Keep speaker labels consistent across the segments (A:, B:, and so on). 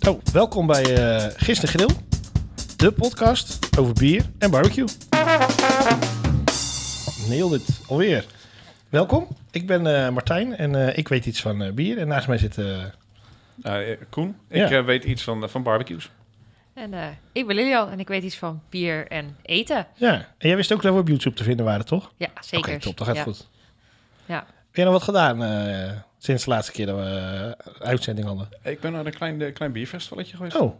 A: Nou, welkom bij eh Gisteren Grill, de podcast over bier en barbecue. Neel dit alweer. Welkom, ik ben eh, Martijn en eh, ik weet iets van eh, bier. En naast mij zit eh,
B: Eh, Koen,
A: Ja.
B: ik eh, weet iets van, van barbecues.
C: En eh, ik ben Lilian en ik weet iets van bier en eten.
A: Ja, en jij wist ook dat we op YouTube te vinden waren, toch?
C: Ja, zeker.
A: Oké, top, dat gaat
C: ja.
A: goed.
C: Ja.
A: Heb jij nog wat gedaan eh, sinds de laatste keer dat we eh, uitzending hadden?
B: Ik ben naar een klein, eh, klein bierfestivaletje geweest.
A: Oh,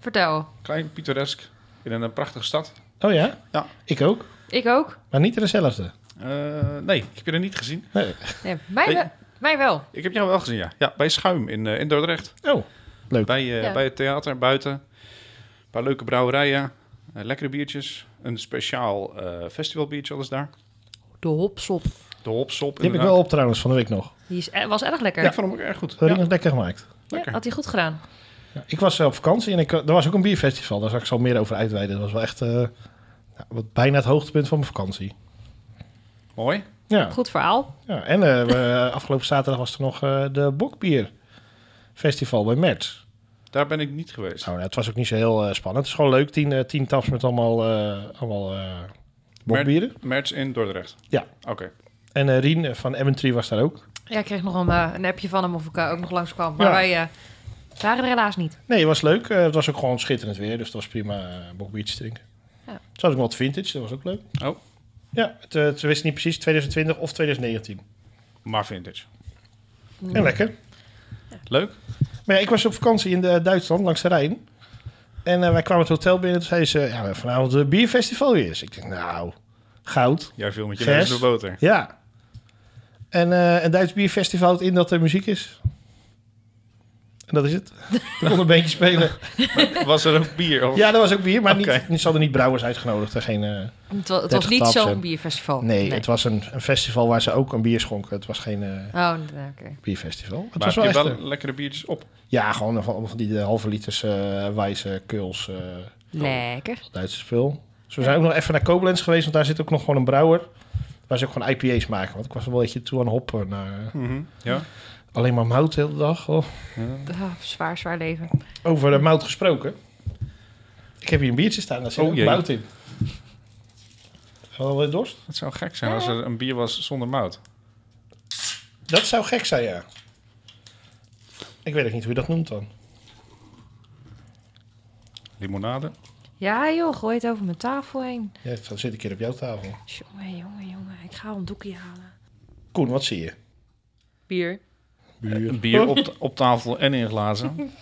C: Vertel.
B: Klein, pittoresk, in een, eh, prachtige stad.
A: oh ja?
B: Ja.
A: Ik ook,
C: Ik ook.
A: maar niet dezelfde.
B: Eh, nee, ik heb je er niet gezien.
A: Nee.
C: Nee, mij,
B: Hey.
C: wel- mij wel.
B: Ik heb jou wel gezien, ja. ja bij Schuim in, eh, in Dordrecht.
A: Oh, Leuk.
B: Bij, eh,
C: Ja.
B: bij het theater, buiten. Een paar leuke brouwerijen, eh, lekkere biertjes. Een speciaal eh festivalbiertje alles daar.
C: De hopsop.
B: De Hopsop,
A: die heb ik
B: inderdaad.
A: wel op trouwens van de week nog.
C: Die is, eh, was erg lekker.
B: Ja, ik vond hem ook erg goed.
A: Dat heb
B: Ja,
A: ik nog lekker gemaakt.
C: Ja,
B: lekker.
C: had hij goed gedaan.
A: Ja, Ik was eh, op vakantie en ik, er was ook een bierfestival. Daar zal ik zo meer over uitweiden. Dat was wel echt eh, nou, wat bijna het hoogtepunt van mijn vakantie.
B: Mooi.
A: Ja,
C: Goed verhaal.
A: ja. en eh, we- afgelopen zaterdag was er nog eh, de Bokbierfestival bij Mert.
B: Daar ben ik niet geweest.
A: Nou, nou, het was ook niet zo heel eh, spannend. Het is gewoon leuk, tien, eh, tien taps met allemaal, eh allemaal eh, bokbieren.
B: Merch in Dordrecht.
A: Ja.
B: Oké.
A: En eh, Rien van Eventry was daar ook.
C: Ja, ik kreeg nog een, eh, een appje van hem of ik eh, ook nog langskwam. Maar
A: Ja.
C: wij eh, waren er helaas niet.
A: Nee, het was leuk. Eh, het was ook gewoon schitterend weer, dus het was prima eh bokbiertjes drinken.
C: Ja.
A: Ja. Zat ook nog wat vintage, dat was ook leuk.
B: Oh.
A: Ja, het, eh, het wist niet precies 2020 of 2019.
B: Maar vintage.
A: En lekker.
B: Leuk.
A: Maar ja, ik was op vakantie in eh, Duitsland, langs de Rijn. En eh, wij kwamen het hotel binnen. Toen zeiden ze, ja, vanavond het bierfestival weer is. Ik denk, nou, goud.
B: Jij viel met je
A: Gers.
B: neus door boter.
A: Ja. En eh, een Duits bierfestival houdt in dat er muziek is. En dat is het. Er kon een beetje spelen.
B: Was er ook bier? Of?
A: Ja, er was ook bier, maar
B: Oké.
A: niet, niet, ze hadden niet brouwers uitgenodigd. Er geen, eh,
C: Het, wa-
A: 30
C: het was niet
A: taps,
C: zo'n
A: hè?
B: Oh,
C: bierfestival.
A: nee, het was een, een festival waar ze ook een bier schonken. Het was geen eh,
C: Oh, nee, oké.
A: bierfestival. Het
B: maar
A: was
B: heb
A: wel
B: je
A: echt,
B: wel
A: eh,
B: lekkere biertjes op?
A: Ja, gewoon van, van die eh, halve liters eh, wijze kuls. eh,
C: Lekker.
A: Duitse spul. Dus we zijn ook nog even naar Koblenz geweest, want daar zit ook nog gewoon een brouwer. Waar ze ook gewoon IPA's maken. Want ik was wel een beetje toe aan hoppen. Naar, eh,
B: Ja.
A: alleen maar mout de hele dag. Oh.
C: Ah, zwaar, zwaar leven.
A: Over de mout gesproken. Ik heb hier een biertje staan, daar zit
B: Oh,
A: ook
B: jee.
A: mout in. Wel weer dorst?
B: Het zou gek zijn als er een bier was zonder mout.
A: Dat zou gek zijn, ja. Ik weet ook niet hoe je dat noemt dan.
B: Limonade.
C: Ja joh, gooi het over mijn tafel heen.
A: Ja, dan zit ik hier op jouw tafel.
C: Jongen, jongen, jongen. Ik ga een doekje halen.
A: Koen, wat zie je?
C: Bier.
B: Een
A: Oh.
B: bier op, op tafel en in glazen.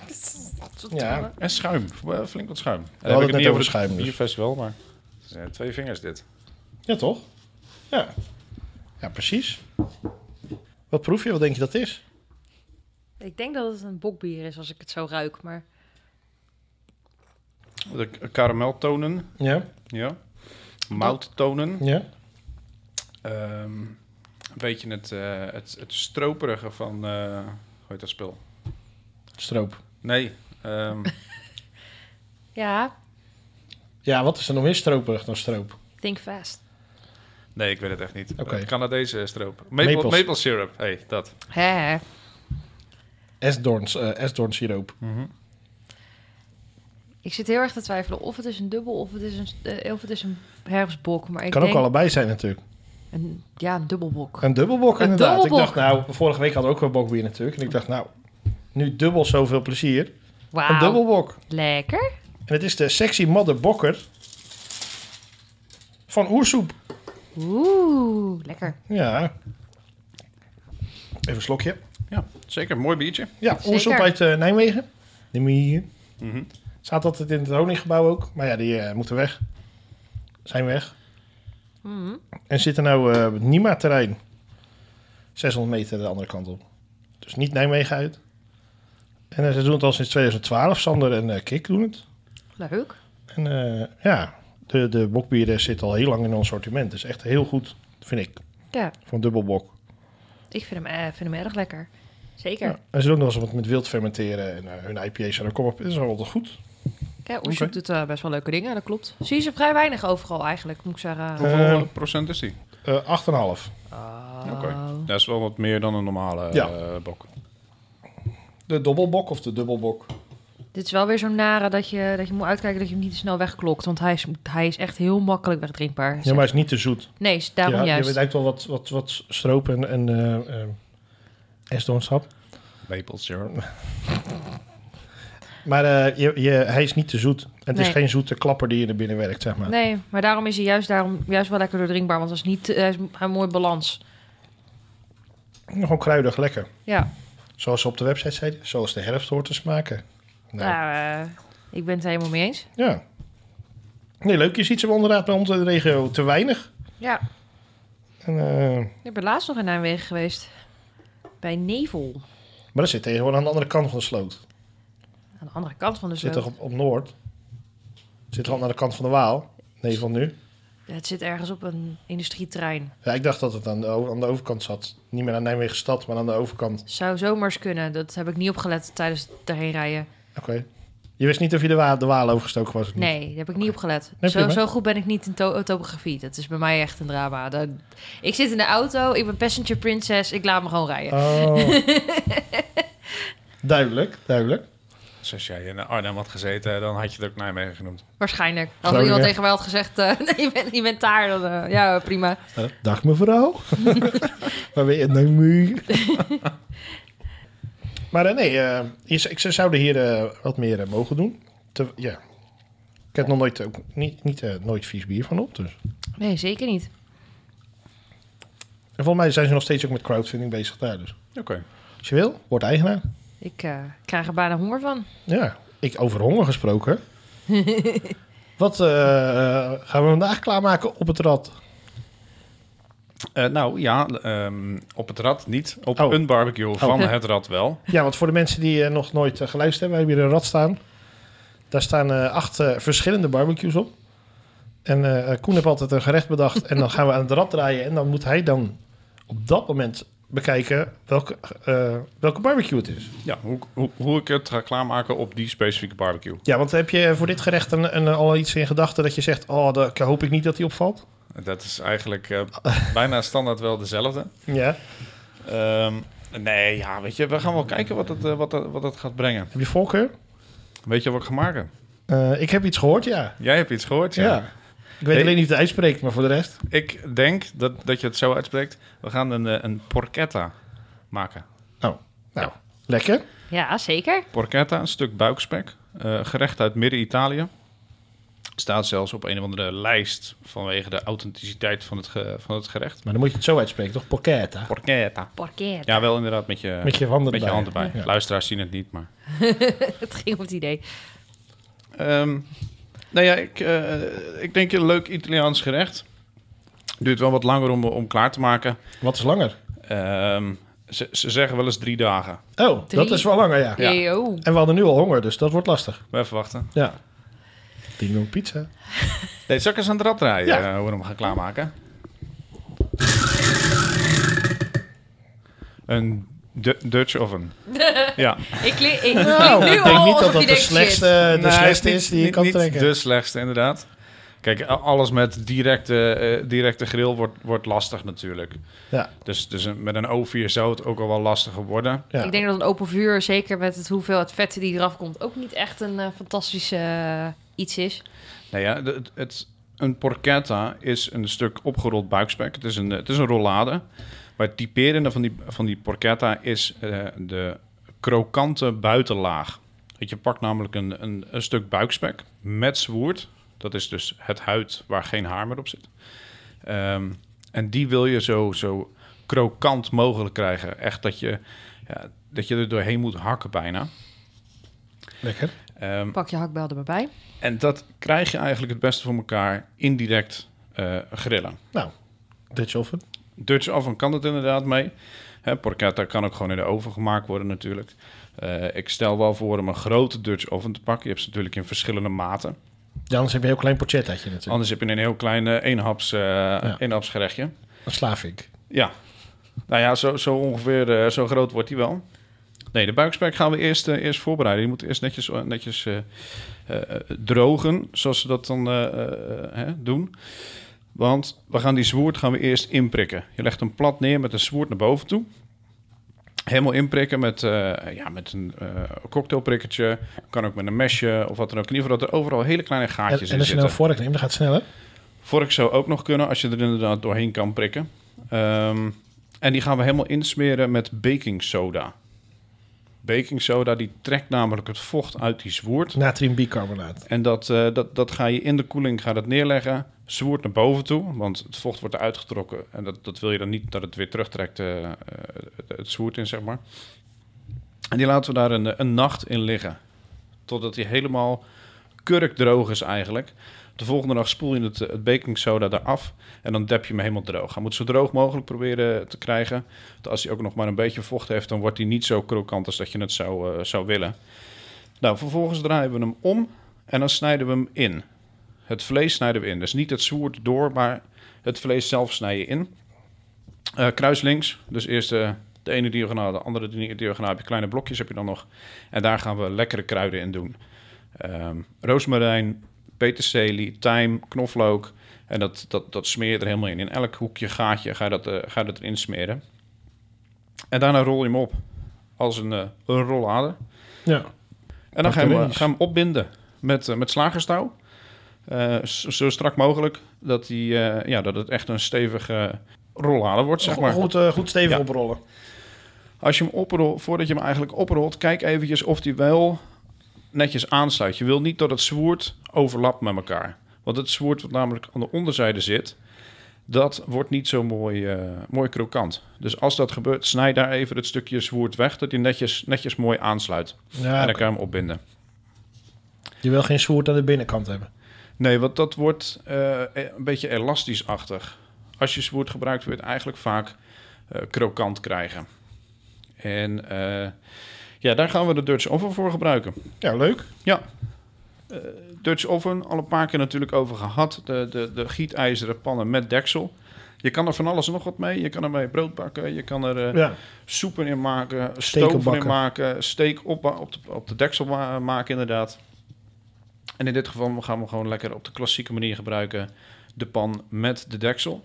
A: Ja,
B: En schuim. Eh, Flink wat schuim. We
A: hadden het net over schuim, dus.
B: bierfestival, maar... Het zijn twee vingers dit.
A: ja toch? Ja. Ja, precies. Wat proef je? Wat denk je dat het is?
C: Ik denk dat het een bokbier is als ik het zo ruik, maar
B: De k- karameltonen.
A: Ja,
B: Ja. Mouttonen.
A: ja.
B: Ehm, een beetje het, eh, het, het stroperige van... eh, hoe heet dat spul?
A: Stroop.
B: Nee. ehm,
C: ja,
A: Ja, wat is er nog meer stroperig dan stroop?
C: think fast.
B: nee, ik weet het echt niet.
A: Oké.
B: Eh, Canadese stroop. Maple,
A: Maples.
B: maple syrup. hey, dat.
C: Hè?
A: Esdoorns, eh esdoorns siroop.
C: Ik zit heel erg te twijfelen of het is een dubbel of het is een, eh, of het is een herfstbok, maar ik
A: kan
C: denk
A: ook allebei zijn natuurlijk.
C: een, ja, een dubbelbok.
A: Een dubbelbok
C: Een
A: inderdaad. Ik dacht
C: dubbelbok.
A: nou, vorige week hadden we ook wel bokbier natuurlijk. En ik dacht nou, nu dubbel zoveel plezier. Een
C: Wauw.
A: dubbelbok.
C: Lekker.
A: En het is de sexy madder bokker van oersoep.
C: Oeh, lekker.
A: Ja. Even een slokje.
B: Ja, zeker. Mooi biertje.
A: Ja,
C: Zeker.
A: oersoep uit eh, Nijmegen. Nijmegen.
B: Mhm.
A: Staat altijd in het honinggebouw ook. Maar ja, die eh, moeten weg. Zijn weg.
C: Mhm.
A: En zitten nou eh Nima-terrein. 600 meter de andere kant op. Dus niet Nijmegen uit. En eh, ze doen het al sinds 2012. Sander en eh, Kik doen het.
C: Leuk.
A: En eh, ja, de, de bokbieren zit al heel lang in ons assortiment. Dus echt heel goed, vind ik,
C: Ja,
A: voor een dubbelbok.
C: ik vind hem, eh, vind hem erg lekker. Zeker.
A: Ja. En ze doen nog eens wat met wild fermenteren. En eh, hun IPA's en dan kom op. Dat is wel altijd goed.
C: Kijk, Oeshoek doet eh, best wel leuke dingen, dat klopt. Zie je ze vrij weinig overal eigenlijk, moet ik zeggen.
A: Eh,
B: Hoeveel eh, procent is die?
A: Eh 8,5.
C: Oh.
B: Oké. Dat is wel wat meer dan een normale eh,
A: Ja.
B: bok.
A: De dobbelbok of de dubbelbok?
C: Dit is wel weer zo'n nare dat je, dat je moet uitkijken dat je hem niet te snel wegklokt. Want hij is, hij is echt heel makkelijk wegdrinkbaar.
A: Ja, maar hij is niet te zoet.
C: Nee, is daarom
A: ja,
C: juist.
A: Je lijkt wel wat, wat, wat stroop en, en eh, eh, esdoornsap.
B: Maple syrup.
A: Maar eh, je, je, hij is niet te zoet. En het is
C: Nee.
A: geen zoete klapper die je er binnen werkt, zeg maar.
C: Nee, maar daarom is hij juist, daarom, juist wel lekker doordrinkbaar. Want dat is niet, eh, hij is hij heeft een mooi balans.
A: Gewoon kruidig lekker.
C: Ja,
A: Zoals ze op de website zeiden, zoals de herfst hoort te smaken. Nou, ja.
C: nou, eh, ik ben het er helemaal mee eens.
A: Nee, leuk. Je ziet ze wel inderdaad bij ons in de regio te weinig.
C: Ja,
A: En, eh,
C: ik ben laatst nog in Nijmegen geweest. Bij Nevel.
A: maar dat zit tegenwoordig aan de andere kant van de sloot.
C: Aan de andere kant van de
A: Zit
C: sloot.
A: toch op, op Noord? Zit toch aan de kant van de Waal? Nee, van nu.
C: Het zit ergens op een industrietrein.
A: Ja, ik dacht dat het aan de, o- aan de overkant zat. Niet meer aan Nijmegen stad, maar aan de overkant.
C: Zou zomers kunnen. Dat heb ik niet opgelet tijdens het daarheen rijden.
A: Oké. Je wist niet of je de, wa de Waal overgestoken was of niet?
C: Nee, daar heb ik niet op gelet.
A: Nee,
C: zo,
A: prima.
C: zo goed ben ik niet in to- topografie. Dat is bij mij echt een drama. Dat- ik zit in de auto, ik ben passenger princess, ik laat me gewoon rijden.
A: Oh. duidelijk, duidelijk.
B: Dus als jij in Arnhem had gezeten, dan had je het ook Nijmegen genoemd.
C: Waarschijnlijk. Als
A: Groningen.
C: iemand tegen mij had gezegd, eh, nee, je, bent, je bent daar, dan eh, ja, prima.
A: Dag mevrouw. Waar ben je nou mee? maar eh, nee, eh, je z- ik, ze zouden hier eh, wat meer eh, mogen doen. Te- ja. Ik heb nog nooit, ook niet, niet, eh, nooit vies bier van op, dus...
C: Nee, zeker niet.
A: En volgens mij zijn ze nog steeds ook met crowdfunding bezig daar. Dus
B: Oké.
A: als je wil, word eigenaar.
C: Ik eh, krijg er bijna honger van.
A: Ja, ik over honger gesproken. Wat eh, eh, gaan we vandaag klaarmaken op het rad?
B: Eh, nou ja, ehm, op het rad niet. Op
A: Oh.
B: een barbecue van het rad wel.
A: Ja, want voor de mensen die eh, nog nooit eh, geluisterd hebben, we hebben hier een rad staan. Daar staan eh, acht eh, verschillende barbecues op. En eh, Koen heeft altijd een gerecht bedacht. En dan gaan we aan het rad draaien. En dan moet hij dan op dat moment bekijken welke, eh, welke barbecue het is.
B: Ja, hoe, hoe, hoe ik het ga klaarmaken op die specifieke barbecue.
A: Ja, want heb je voor dit gerecht een, een, al iets in gedachten dat je zegt... oh, dat hoop ik niet dat die opvalt?
B: Dat is eigenlijk eh, bijna standaard wel dezelfde.
A: Ja.
B: Ehm, nee, ja, weet je, we gaan wel kijken wat het, eh, wat, dat, wat dat gaat brengen.
A: Heb je voorkeur?
B: Weet je wat ik ga maken?
A: Eh, ik heb iets gehoord, ja.
B: Jij hebt iets gehoord,
A: ja.
B: ja.
A: Ik weet
B: Hey.
A: alleen niet hoe het uitspreekt, maar voor de rest...
B: Ik denk dat, dat je het zo uitspreekt. We gaan een, eh, een porchetta maken.
A: Nou, lekker.
C: Ja, zeker.
B: Porchetta, een stuk buikspek. eh, gerecht uit midden-Italië. Staat zelfs op een of andere lijst vanwege de authenticiteit van het, ge- van het gerecht.
A: Maar dan moet je het zo uitspreken, toch? Porchetta.
B: Porchetta.
C: Parkeer.
B: Ja, wel inderdaad met je,
A: Met je handen
B: met je
A: erbij.
B: hand erbij.
A: Ja.
B: Luisteraars zien het niet, maar...
C: het ging om het idee.
B: Ehm, nou ja, ik, eh, ik denk een leuk Italiaans gerecht. Duurt wel wat langer om, om klaar te maken.
A: Wat is langer?
B: Ehm, ze, ze zeggen wel eens drie dagen.
A: Oh,
C: Drie.
A: dat is wel langer, ja.
B: Ja.
C: Eeuw.
A: En we hadden nu al honger, dus dat wordt lastig.
B: Maar even wachten.
A: Ja. Ding dong
C: Oh,
A: pizza.
B: Nee, zal ik eens aan het rad draaien
A: Ja.
B: eh, hoe we hem gaan klaarmaken? Een Du- Dutch oven. ja.
C: Ik, kli- ik,
A: Nou,
C: klink nu
A: ik denk
C: al
A: niet dat
C: alsof
A: dat
C: je
A: de
C: denkt,
A: slechtste,
C: shit.
A: de
B: Nee,
A: slechtste
B: niet-
A: is die je
B: niet-
A: kan
B: niet
A: trekken.
B: de slechtste, inderdaad. Kijk, a- alles met directe, eh, directe grill wordt, wordt lastig natuurlijk.
A: Ja.
B: Dus, dus een- met een oven zou het ook al wel lastiger worden.
A: Ja.
C: Ik denk dat een open vuur, zeker met het hoeveelheid vetten die eraf komt, ook niet echt een eh, fantastisch eh, iets is.
B: Nou ja, de- het, het- een porchetta is een stuk opgerold buikspek. Het is een, het is een rollade. Maar het typerende van die, van die porchetta is eh, de krokante buitenlaag. Want je pakt namelijk een, een, een stuk buikspek met zwoerd. Dat is dus het huid waar geen haar meer op zit. Ehm, en die wil je zo, zo krokant mogelijk krijgen. Echt dat je, ja, dat je er doorheen moet hakken bijna.
A: Lekker.
B: Ehm,
C: Pak je hakbel er maar bij.
B: en dat krijg je eigenlijk het beste voor elkaar indirect eh, grillen.
A: Nou, Dutch oven.
B: Dutch oven kan het inderdaad mee. Hè, porchetta kan ook gewoon in de oven gemaakt worden natuurlijk. Eh, ik stel wel voor om een grote Dutch oven te pakken. Je hebt ze natuurlijk in verschillende maten.
A: Ja, anders dus heb je een heel klein porchettaatje natuurlijk.
B: Anders heb je een heel klein eh, eenhaps, eh eenhapsgerechtje.
A: Een slavik.
B: Ja. Nou ja, zo, zo ongeveer eh, zo groot wordt die wel. Nee, de buikspek gaan we eerst, eh, eerst voorbereiden. Die moet eerst netjes, eh, netjes eh, eh, eh, drogen, zoals ze dat dan eh, eh, hè, doen. Want we gaan die zwoerd gaan we eerst inprikken. Je legt hem plat neer met een zwoerd naar boven toe. Helemaal inprikken met, eh, ja, met een eh, cocktailprikkertje. Kan ook met een mesje of wat dan ook. In ieder geval dat er overal hele kleine
A: En,
B: gaatjes
A: en
B: in
A: als je nou
B: zitten.
A: een vork neemt, dan gaat het sneller.
B: Vork zou ook nog kunnen als je er inderdaad doorheen kan prikken. Ehm, en die gaan we helemaal insmeren met baking soda. Baking soda die trekt namelijk het vocht uit die zwoerd.
A: Natriumbicarbonaat.
B: En dat, eh, dat, dat ga je in de koeling ga dat neerleggen. Zwoert naar boven toe, want het vocht wordt eruit getrokken. En dat, dat wil je dan niet dat het weer terugtrekt, eh, eh, het, het zwoert in, zeg maar. En die laten we daar een, eh, een nacht in liggen. Totdat die helemaal kurkdroog is eigenlijk. De volgende dag spoel je het, eh, het baking soda eraf en dan dep je hem helemaal droog. Hij moet zo droog mogelijk proberen te krijgen. Want als hij ook nog maar een beetje vocht heeft, dan wordt hij niet zo krokant als dat je het zou, eh, zou willen. Nou, vervolgens draaien we hem om en dan snijden we hem in. Het vlees snijden we in. Dus niet het zwoerd door, maar het vlees zelf snij je in. Eh kruislinks. Dus eerst eh, de ene diagonaal, de andere di- diagonaal. Heb je kleine blokjes heb je dan nog. En daar gaan we lekkere kruiden in doen. Ehm roosmarijn, peterselie, tijm, knoflook. En dat, dat, dat smeer je er helemaal in. In elk hoekje, gaatje ga je dat, eh, ga je dat erin smeren. En daarna rol je hem op als een, eh, een rollader.
A: Ja.
B: En dan gaan we, gaan
A: Macaroni's.
B: we hem opbinden met, eh, met slagerstouw. Eh, zo zo strak mogelijk. Dat, die, eh, ja, dat het echt een stevige rollader wordt, zeg maar.
A: Goed, eh, goed stevig
B: Ja.
A: oprollen.
B: Als je hem oprolt, voordat je hem eigenlijk oprolt, kijk eventjes of die wel netjes aansluit. Je wil niet dat het zwoerd overlapt met elkaar. Want het zwoerd wat namelijk aan de onderzijde zit, dat wordt niet zo mooi, eh, mooi krokant. Dus als dat gebeurt, snijd daar even het stukje zwoerd weg, dat hij netjes, netjes mooi aansluit. en
A: Ja,
B: dan kan je hem opbinden.
A: je wil geen zwoerd aan de binnenkant hebben.
B: Nee, want dat wordt eh, een beetje elastisch-achtig. Als je zwoerd gebruikt, wil je het eigenlijk vaak eh, krokant krijgen. En eh, ja, daar gaan we de Dutch Oven voor gebruiken.
A: Ja, leuk.
B: Dutch Oven, al een paar keer natuurlijk over gehad. De, de, de gietijzeren pannen met deksel. Je kan er van alles en nog wat mee. Je kan ermee brood bakken, je kan er eh,
A: Ja.
B: soepen in maken,
A: Steken
B: stoven in
A: bakken.
B: maken, steek op, op, de, op de deksel ma- maken inderdaad. En in dit geval gaan we gewoon lekker op de klassieke manier gebruiken de pan met de deksel.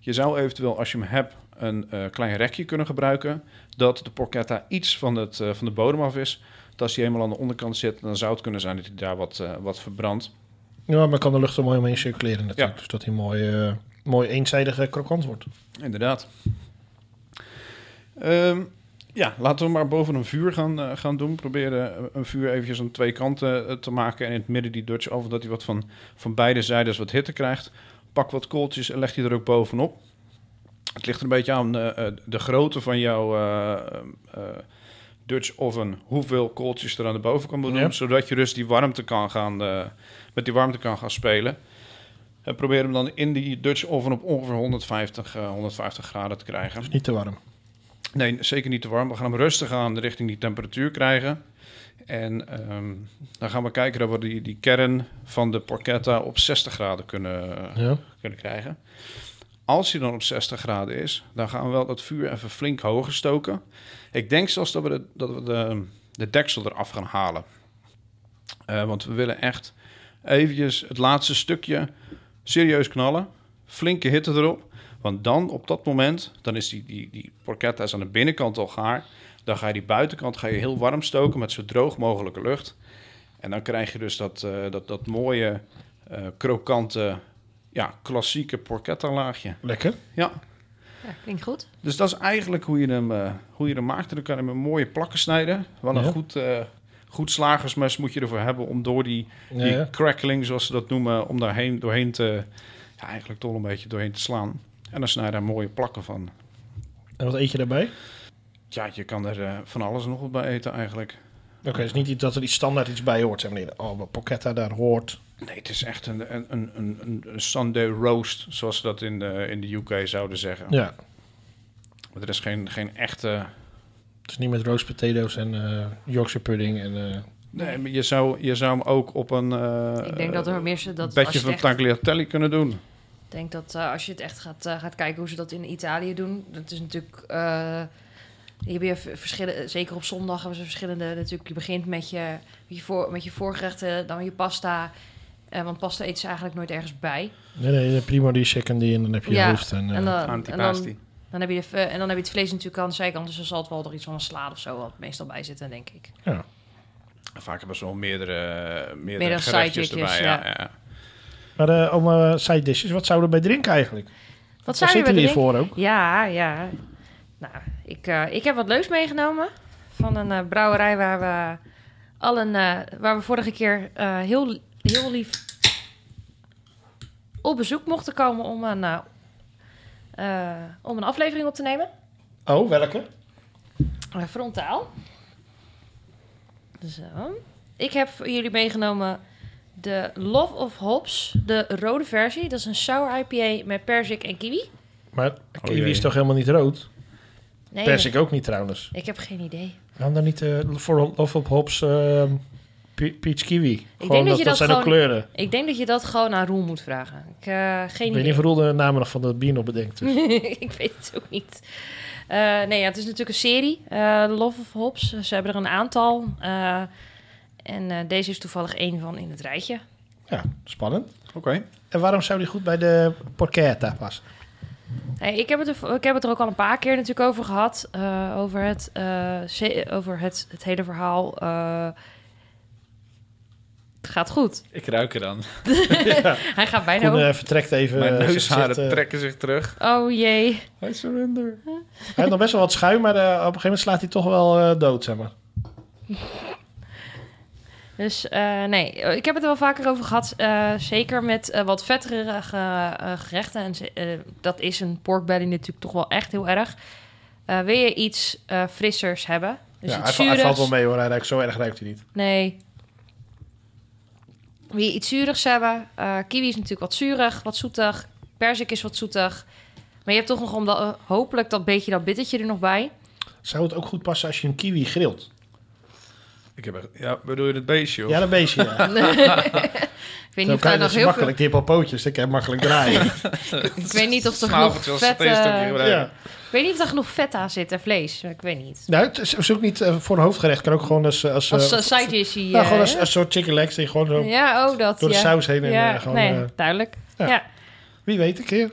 B: Je zou eventueel, als je hem hebt, een eh, klein rekje kunnen gebruiken. Dat de porchetta iets van, het, eh, van de bodem af is. Dat als die helemaal aan de onderkant zit, dan zou het kunnen zijn dat hij daar wat, eh, wat verbrandt.
A: ja, maar kan de lucht er mooi omheen circuleren natuurlijk. Dus dat hij mooi, eh, mooi eenzijdig eh, krokant wordt.
B: Inderdaad. Ehm, ja, laten we maar boven een vuur gaan, eh, gaan doen. Proberen eh, een vuur eventjes aan twee kanten eh, te maken. En in het midden die Dutch oven, dat hij wat van, van beide zijdes wat hitte krijgt. Pak wat kooltjes en leg die er ook bovenop. Het ligt er een beetje aan eh, eh, de grootte van jouw eh, eh, Dutch oven. Hoeveel kooltjes er aan de bovenkant moet doen.
A: Ja.
B: Zodat je dus die warmte kan gaan, eh, met die warmte kan gaan spelen. En probeer hem dan in die Dutch oven op ongeveer 150, eh, 150 graden te krijgen.
A: Dus niet te warm.
B: Nee, zeker niet te warm. We gaan hem rustig aan richting die temperatuur krijgen. En ehm, dan gaan we kijken dat we die, die kern van de porchetta op 60 graden kunnen, eh,
A: Ja.
B: kunnen krijgen. Als hij dan op 60 graden is, dan gaan we wel dat vuur even flink hoger stoken. Ik denk zelfs dat we de, dat we de, de deksel eraf gaan halen. Eh, want we willen echt eventjes het laatste stukje serieus knallen. Flinke hitte erop. Want dan, op dat moment, dan is die, die, die porchetta is aan de binnenkant al gaar. Dan ga je die buitenkant ga je heel warm stoken met zo droog mogelijke lucht. En dan krijg je dus dat, eh, dat, dat mooie, eh, krokante, ja, klassieke porchetta laagje.
A: Lekker.
B: Ja,
C: Ja, klinkt goed.
B: dus dat is eigenlijk hoe je hem, eh, hoe je hem maakt. En dan kan je hem in mooie plakken snijden. Wel een
A: Ja.
B: goed, eh, goed slagersmes moet je ervoor hebben om door die,
A: Ja,
B: die
A: ja.
B: crackling, zoals ze dat noemen, om daarheen doorheen te, ja, eigenlijk toch een beetje doorheen te slaan. En dan snij je daar mooie plakken van.
A: En wat eet je daarbij?
B: Ja, je kan er eh, van alles en nog wat bij eten eigenlijk.
A: Oké, dus niet iets dat er iets standaard iets bij hoort. Zeg maar, niet, oh, maar Pochetta daar hoort.
B: Nee, het is echt een, een, een, een, een Sunday roast, zoals ze dat in de, in de UK zouden zeggen.
A: Ja.
B: Want er is geen, geen echte...
A: Het is niet met roast potatoes en eh, Yorkshire pudding. En, eh,
B: Nee, maar je zou, je zou hem ook op een... eh,
C: ik denk dat er meer ze dat als je
B: bedje
C: het
B: van
C: echt-
B: tagliatelle kunnen doen.
C: Ik denk dat eh, als je het echt gaat, eh, gaat kijken hoe ze dat in Italië doen. Dat is natuurlijk. eh hier heb je v- verschillen, zeker op zondag hebben ze verschillende. Natuurlijk, je begint met je, met je, voor, met je voorgerechten, dan je pasta. eh, want pasta eten ze eigenlijk nooit ergens bij.
A: nee, nee, prima die chicken die en dan heb je
C: Ja,
A: hoofd. En, eh,
C: en dan, en dan,
B: Antipasti.
C: Dan heb je, de, v- en dan heb je het vlees natuurlijk aan de zijkant. Dus er zal het wel er iets van een salade of zo wat meestal bij zitten, denk ik.
A: Ja.
B: Vaak hebben ze wel meerdere, meerdere
C: Meerdere
B: gerechtjes
C: side dishes,
B: erbij. Ja, ja.
A: Maar eh, om eh, side dishes, wat zouden we bij drinken eigenlijk?
C: Wat
A: Daar
C: zou je
A: zitten
C: bij
A: we hier
C: drinken?
A: voor ook.
C: Ja, ja. Nou, ik, eh, ik heb wat leuks meegenomen van een eh, brouwerij waar we allen, eh, waar we vorige keer eh, heel, heel lief op bezoek mochten komen om een, eh, eh, om een aflevering op te nemen.
A: Oh, welke?
C: Eh, frontaal. Zo. Ik heb voor jullie meegenomen de Love of Hops, de rode versie. Dat is een sour IPA met perzik en kiwi.
A: Maar kiwi
B: jee.
A: is toch helemaal niet rood?
C: Nee,
A: Persik ook niet trouwens.
C: ik heb geen idee.
A: Waarom dan niet eh, voor Love of Hops eh, pe- peach kiwi? Gewoon,
C: dat
A: dat, dat,
C: je dat
A: zijn ook
C: gewoon-
A: kleuren.
C: Ik denk dat je dat gewoon aan Roel moet vragen. Ik, eh, geen
A: Ik
C: idee.
A: weet niet hoe de namen nog van dat bier nog bedenkt. dus.
C: ik weet het ook niet. Eh, nee, ja, het is natuurlijk een serie. eh, Love of Hops. Ze hebben er een aantal. eh, en eh, deze is toevallig één van in het rijtje.
A: Ja, spannend.
B: Oké.
A: En waarom zou die goed bij de porchetta passen?
C: Hey, ik, heb het er, ik heb het er ook al een paar keer natuurlijk over gehad. eh, over het, eh, ze- over het, het hele verhaal. eh, het gaat goed.
B: Ik ruik er dan.
A: Eh,
C: Hij gaat bijna
A: Koen
C: over.
A: eh, vertrekt even.
B: Mijn
A: eh,
B: neusharen
A: zegt, eh,
B: trekken zich terug.
C: Oh jee.
B: I surrender.
A: Hij heeft nog best wel wat schuim, maar eh, op een gegeven moment slaat hij toch wel eh, dood, zeg maar.
C: Dus eh, nee, ik heb het er wel vaker over gehad. eh, zeker met eh, wat vetterige eh, gerechten. En ze- eh, dat is een pork belly natuurlijk toch wel echt heel erg. Eh, wil je iets eh, frissers hebben? Dus
A: ja,
C: iets
A: hij, va- hij valt
C: zuurigs.
A: wel mee hoor, hij ruikt, zo erg ruikt hij niet.
C: Nee. Wil je iets zuurigs hebben? eh, kiwi is natuurlijk wat zuurig, wat zoetig. Perzik is wat zoetig. Maar je hebt toch nog om dat, eh, hopelijk dat beetje dat bittertje er nog bij.
A: Zou het ook goed passen als je een kiwi grilt?
B: Ik heb echt, ja, bedoel je het beestje? of?
A: Ja, dat beestje. Ja. Zo
C: Ik weet niet
A: kan je-
C: of daar nog
A: dat is
C: heel veel...
A: makkelijk, die heeft al pootjes, die kan je makkelijk draaien.
C: Ik weet niet of er nog
B: Snaveltje als
C: vet...
B: steeds
C: eh,
B: toch weer-
A: ja.
C: Ik weet niet of er genoeg vet aan zit en vlees. Ik weet niet.
A: Nou, het is, is ook niet eh, voor een hoofdgerecht, kan ook gewoon als... eh, als, eh,
C: Als uh, side dish hier,
A: nou, gewoon
C: eh,
A: als, als soort chicken legs die gewoon zo
C: Ja, oh dat.
A: door de
C: ja.
A: saus heen en
C: ja,
A: eh, gewoon...
C: nee,
A: eh,
C: duidelijk.
A: ja.
C: Ja. Ja.
A: wie weet een keer.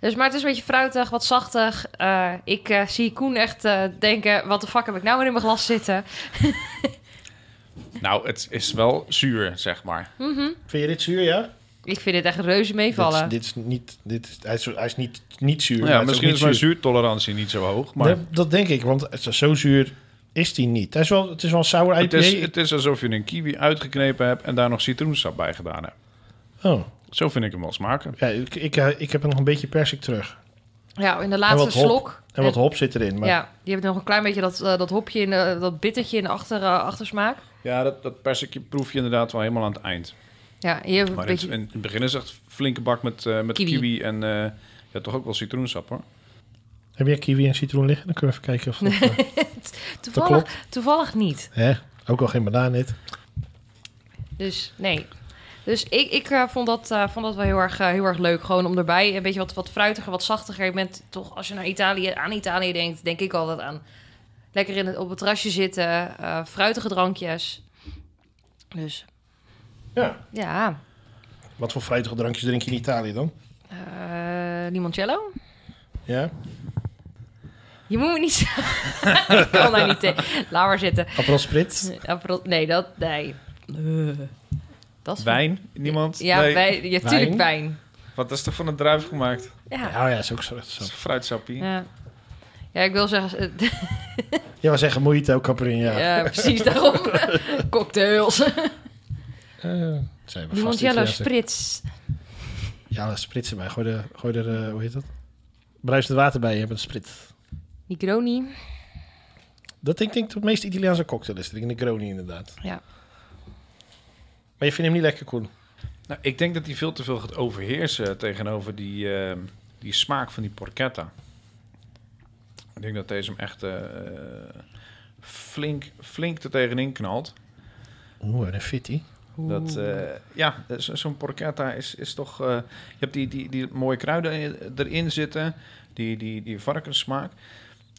C: Dus, maar het is een beetje fruitig, wat zachtig. Eh, ik eh, zie Koen echt eh, denken, wat de fuck heb ik nou weer in mijn glas zitten?
B: Nou, het is wel zuur, zeg maar.
A: Vind je dit zuur, ja?
C: Ik vind dit echt reuze
A: Dit is,
C: meevallen.
A: dit is niet... Dit is, hij is, hij is niet, niet zuur. maar
B: ja,
A: het ook
B: misschien
A: niet
B: is mijn
A: zuur.
B: zuurtolerantie niet zo hoog. Maar
A: Nee, dat denk ik, want het is zo zuur is die niet. Het is wel, het is wel een sour IPA.
B: het, is, het is alsof je een kiwi uitgeknepen hebt en daar nog citroensap bij gedaan hebt.
A: Oh,
B: Zo vind ik hem wel smaken.
A: ja, ik, ik, eh, ik heb nog een beetje persik terug.
C: Ja, in de
A: En
C: laatste
A: wat hop.
C: slok.
A: En wat hop zit erin. Maar
C: Ja, die hebben nog een klein beetje dat, eh, dat hopje, in, de- dat bittertje in de achter, eh, achtersmaak.
B: Ja, dat, dat persikje proef je inderdaad wel helemaal aan het eind.
C: Ja, hier hebben we
B: Maar
C: een
B: in het,
C: beetje...
B: in het begin is echt een flinke bak met, eh, met kiwi.
C: Kiwi.
B: en eh, ja, toch ook wel citroensap hoor.
A: Heb jij kiwi en citroen liggen? Dan kunnen we even kijken of dat... eh,
C: Toevallig, toevallig niet.
A: hè? Ook al geen banaan dit.
C: Dus nee. Dus ik, ik eh, vond, dat, eh, vond dat wel heel erg, eh, heel erg leuk. Gewoon om erbij een beetje wat, wat fruitiger, wat zachtiger. Je bent toch, als je naar Italië, aan Italië denkt, denk ik altijd aan lekker in het, op het terrasje zitten, eh, fruitige drankjes. Dus
A: Ja.
C: ja,
A: Wat voor fruitige drankjes drink je in Italië dan?
C: eh, limoncello.
A: Ja?
C: Je moet me niet zeggen. ik kan daar niet tegen. Laat maar zitten.
A: Aperol spritz?
C: Aperol- Nee, dat, nee. Eh, Dat is
B: Wijn? Niemand?
C: Ja,
B: Nee.
C: wijn. Ja, tuurlijk
A: Wijn.
C: wijn.
B: Wat is er van een druif gemaakt?
C: Ja.
A: Ja, oh ja, is ook zo. echt zo.
B: Dat is een fruitsappie.
C: Ja. ja, ik wil zeggen,
A: Je was zeggen moeite ook, Caprin, ja.
C: Ja, precies daarom. Cocktails.
A: Eh, zijn we vast
C: Limoncello
A: Italiaanse.
C: spritz.
A: Ja, dan spritsen bij. Gooi er, gooi er eh, hoe heet dat? Bruisend water bij, je hebt een sprit.
C: Negroni.
A: Dat denk ik denk dat het meest Italiaanse cocktail is. De Negroni inderdaad.
C: Ja.
A: Maar je vindt hem niet lekker, Koen?
B: Nou, ik denk dat die veel te veel gaat overheersen tegenover die, eh, die smaak van die porchetta. Ik denk dat deze hem echt eh, flink, flink er tegenin knalt.
A: Oeh, een fitty.
B: Dat,
C: Mm.
B: eh, ja, zo- zo'n porchetta is, is toch... eh, je hebt die, die, die mooie kruiden in- erin zitten, die, die, die varkenssmaak.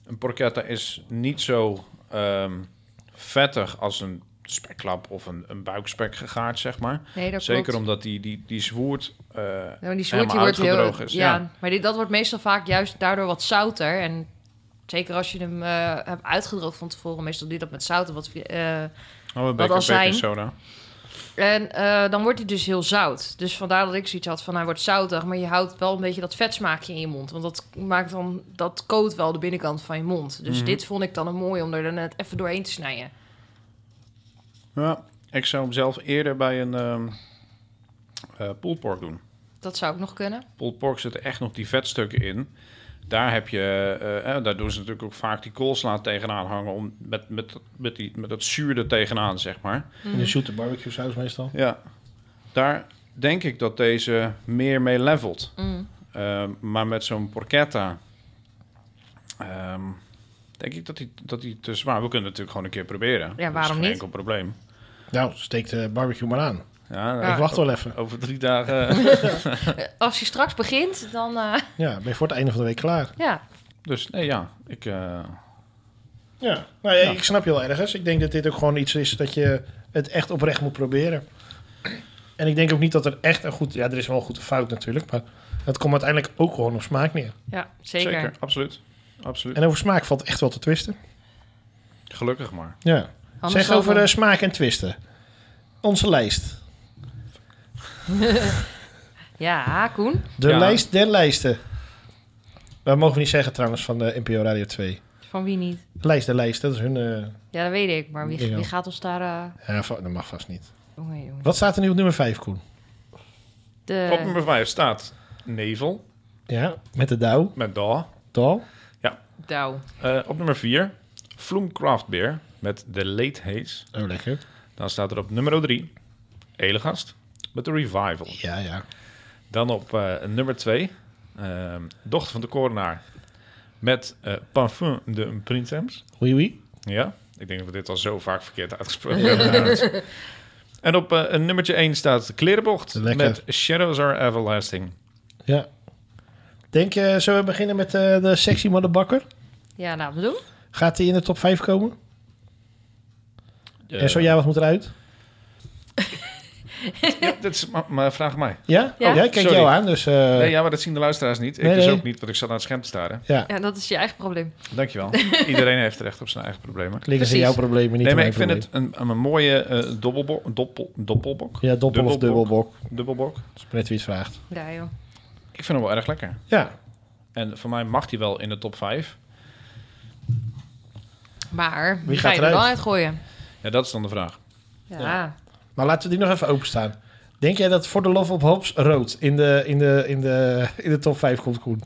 B: Een porchetta is niet zo ehm, vettig als een speklap of een, een buikspek gegaard, zeg maar.
C: Nee, dat
B: Zeker
C: klopt.
B: omdat die, die, die zwoerd... eh,
C: Ja, maar
B: helemaal
C: die soort die wordt heel,
B: uitgedroogd is,
C: ja.
B: ja.
C: maar dit, dat wordt meestal vaak juist daardoor wat zouter. En zeker als je hem eh, hebt uitgedroogd van tevoren, meestal doe je dat met zout. en Wat, eh,
B: oh, een beker
C: azijn.
B: baking soda.
C: en eh, dan wordt hij dus heel zout. Dus vandaar dat ik zoiets had van hij wordt zoutig, maar je houdt wel een beetje dat vetsmaakje in je mond. Want dat maakt dan, dat coat wel de binnenkant van je mond. Dus
B: Mhm.
C: dit vond ik dan een mooi om er dan net even doorheen te snijden.
B: Ja, ik zou hem zelf eerder bij een ehm eh, pulled pork doen.
C: Dat zou ook nog kunnen.
B: pulled pork zitten echt nog die vetstukken in. Daar heb je, eh, eh, daar doen ze natuurlijk ook vaak die koolsla tegenaan hangen om met, met, met, die, met dat zuur er tegenaan, zeg maar.
C: Mm.
A: In de shooter barbecue saus meestal.
B: Ja, daar denk ik dat deze meer mee levelt.
C: Mm.
B: Ehm, maar met zo'n porchetta... ehm, denk ik dat die, dat die te zwaar... We kunnen het natuurlijk gewoon een keer proberen. Dat is
C: waarom
B: geen
C: niet?
B: enkel probleem.
A: Nou, steek de barbecue maar aan.
B: Ja, eh,
C: Ja.
A: Ik wacht wel even.
B: Over drie dagen...
C: Eh, Als je straks begint, dan eh,
A: Ja, ben je voor het einde van de week klaar.
C: ja.
B: dus nee, ja. Ik, eh,
A: Ja, nou ja,
B: Ja.
A: ik snap je wel ergens. Ik denk dat dit ook gewoon iets is dat je het echt oprecht moet proberen. En ik denk ook niet dat er echt een goed... Ja, er is wel een goede fout natuurlijk, maar het komt uiteindelijk ook gewoon op smaak neer.
C: ja
B: zeker.
C: zeker.
B: Absoluut. Absoluut.
A: En over smaak valt echt wel te twisten.
B: Gelukkig maar.
A: Ja.
C: Anders
A: zeg
C: dan
A: over
C: dan-
A: eh, smaak en twisten. Onze lijst.
C: Ja, Koen.
A: De
B: Ja.
A: lijst der lijsten. Dat mogen we niet zeggen trouwens van de NPO Radio 2.
C: Van wie niet?
A: Lijst der lijsten, dat is hun... eh,
C: Ja, dat weet ik. Maar wie,
A: Ja.
C: wie gaat ons daar... eh,
A: ja, va- dat mag vast niet.
C: Jongen, jongen.
A: Wat staat er nu op nummer 5, Koen?
C: De,
B: Op
C: Eh.
B: nummer 5 staat nevel
A: Ja, met de douw.
B: met da.
A: Dal.
C: Douw.
B: Eh, op nummer 4 Vloem Craft Beer met de Late Haze.
A: Oh, lekker.
B: Dan staat er op nummer 3 Elegast met de Revival.
A: Ja, ja.
B: Dan op eh, nummer 2 Dochter van de Korenaar met eh, Parfum de Printemps.
A: Oui, oui.
B: Ja, ik denk dat we dit al zo vaak verkeerd uitgesproken hebben. En op eh, nummertje 1 staat de Klerenbocht
A: Lekker.
B: met Shadows Are Everlasting.
A: Ja. Denk, eh zullen we beginnen met eh, de sexy motherbakker?
C: Ja, nou, we doen.
A: Gaat die in de top 5 komen?
B: Eh,
A: En zo ja, wat moet eruit?
B: ja, Eh, dit is, maar, maar vraag mij.
A: Ja?
C: Ja.
A: Oh, jij kijkt
B: Sorry.
A: jou aan, dus... eh,
B: Nee, ja, maar dat zien de luisteraars niet. Ik
A: Nee,
B: dus
A: nee.
B: ook niet, want ik zat aan het scherm te staren.
A: ja.
C: Ja, dat is je eigen probleem.
B: Dankjewel. Iedereen heeft recht op zijn eigen problemen.
A: Liggen ze
C: Precies.
A: jouw problemen niet
B: nee, maar
A: aan
B: ik
A: mijn
B: vind het een, een mooie eh dobbelbo- doppel, doppelbok.
A: probleem. Ja, doppel of
B: dubbelbok.
A: dubbelbok.
B: Dubbelbok.
A: Dat is net wie het vraagt.
C: Ja, joh.
B: Ik vind hem wel erg lekker.
A: Ja,
B: En voor mij mag hij wel in de top 5.
C: Maar wie
A: gaat
C: ga je er
A: eruit?
C: dan uitgooien?
B: Ja, dat is dan de vraag.
C: Ja.
A: Ja. Maar laten we die nog even openstaan. Denk jij dat voor de Love of Hops rood in de, in de, in de, in de top 5 komt, Koen?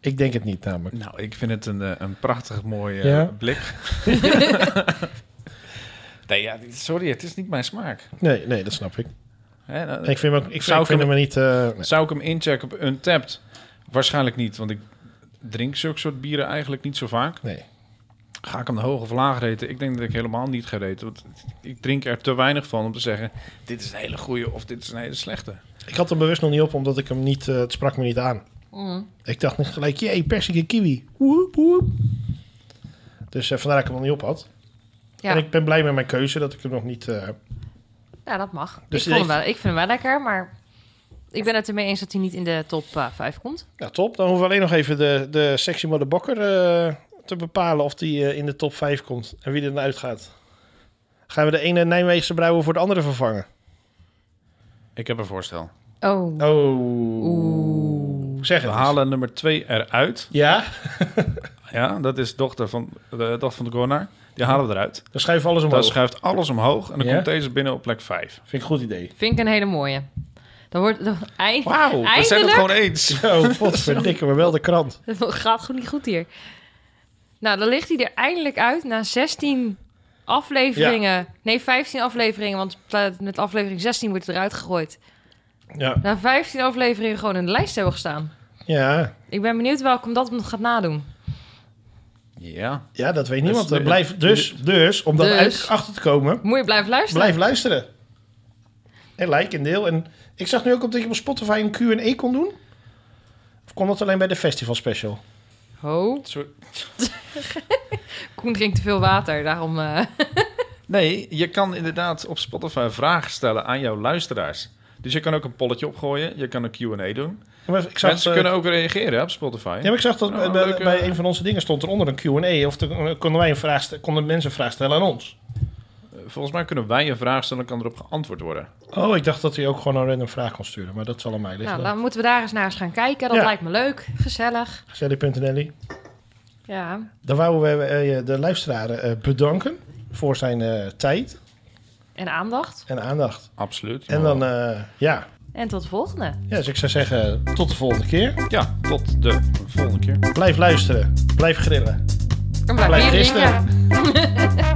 A: ik denk het niet, namelijk.
B: Nou, ik vind het een, eh, een prachtig mooie eh,
A: Ja?
B: blik. nee, ja, sorry, het is niet mijn smaak.
A: Nee, nee dat snap ik.
B: Hè, nou,
A: Ik vind hem, ook, ik, vind-
B: Zou
A: ik vind
B: ik
A: hem niet... eh, nee.
B: Zou ik hem inchecken op Untapped? Waarschijnlijk niet, want ik drink zulke soort bieren eigenlijk niet zo vaak.
A: nee.
B: Ga ik hem hoog of laag reten? Ik denk dat ik helemaal niet ga reten. Want ik drink er te weinig van om te zeggen... dit is een hele goede of dit is een hele slechte.
A: Ik had hem bewust nog niet op, omdat ik hem niet... eh, het sprak me niet aan.
C: Mm.
A: Ik dacht niet gelijk, jee, persik en kiwi. Woep, woep. Dus eh, vandaar dat ik hem nog niet op had.
C: Ja.
A: En ik ben blij met mijn keuze dat ik hem nog niet... eh,
C: ja, dat mag.
A: Dus
C: ik, vond hem
A: echt-
C: wel, ik vind hem wel lekker, maar ik ben het ermee eens dat hij niet in de top 5 komt.
A: Nou, top. Dan hoeven we alleen nog even de, de sexy mother Bakker eh, te bepalen of die eh, in de top 5 komt en wie er dan uitgaat. Gaan we de ene Nijmeegse brouwer voor de andere vervangen?
B: Ik heb een voorstel.
C: Oh.
A: Oh.
C: Oeh.
A: Zeg
B: We
A: het. eens.
B: halen nummer 2 eruit.
A: Ja,
B: Ja, dat is dochter van de dochter van de coronaar. Die halen we eruit.
A: dan schuiven we alles omhoog.
B: Dan schuift alles omhoog en dan
A: Ja?
B: komt deze binnen op plek 5.
A: Vind ik een goed idee.
C: Vind ik een hele mooie. Dan wordt dan, eind,
B: Wauw, we zijn het
C: Eindelijk?
B: gewoon eens.
A: Zo, Oh, potverdikke, maar wel de krant.
C: Het gaat gewoon niet goed hier. Nou, dan ligt hij er eindelijk uit na 16 afleveringen. Nee, 15 afleveringen, want pla- met aflevering 16 wordt het eruit gegooid.
A: Ja.
C: Na 15 afleveringen gewoon in de lijst hebben gestaan.
A: Ja,
C: Ik ben benieuwd welkom dat nog gaat nadoen.
B: Ja,
A: ja dat weet niemand.
B: Dus-
A: Eh, blijf, dus, dus, om dat
C: Dus.
A: uit, achter te komen,
C: Moet je blijven luisteren?
A: blijf luisteren. En like en deel. En ik zag nu ook op dat je op Spotify een Q&A kon doen. Of kon dat alleen bij de festival special?
C: Ho,
B: zo-
C: Koen drinkt te veel water, daarom... eh,
B: Nee, je kan inderdaad op Spotify vragen stellen aan jouw luisteraars. Dus je kan ook een polletje opgooien. Je kan een Q&A doen.
A: Maar ik zag,
B: Mensen
A: eh,
B: kunnen ook reageren hè, op Spotify.
A: ja, maar ik zag dat
B: Nou,
A: bij,
B: leuk, eh.
A: bij een van onze dingen stond eronder een Q&A. Of de- eh, konden, wij een vraag st- konden mensen een vraag stellen aan ons?
B: Eh, Volgens mij kunnen wij een vraag stellen en kan erop geantwoord worden.
A: Oh, ik dacht dat hij ook gewoon een random vraag kon sturen. Maar dat zal aan mij liggen.
C: Nou,
A: Nou,
C: dan moeten we daar eens naar eens gaan kijken. Dat
A: Ja.
C: lijkt me leuk, gezellig. Ja.
A: Dan wouden we eh, de luisteraar eh, bedanken voor zijn eh, tijd
C: En aandacht.
A: en aandacht.
B: Absoluut.
A: En dan, eh, ja.
C: En tot de volgende.
A: ja, dus ik zou zeggen tot de volgende keer.
B: Ja, tot de volgende keer.
A: Blijf luisteren, blijf grillen.
C: En blijf
A: Blijf
C: bier
A: gisteren.
C: drinken.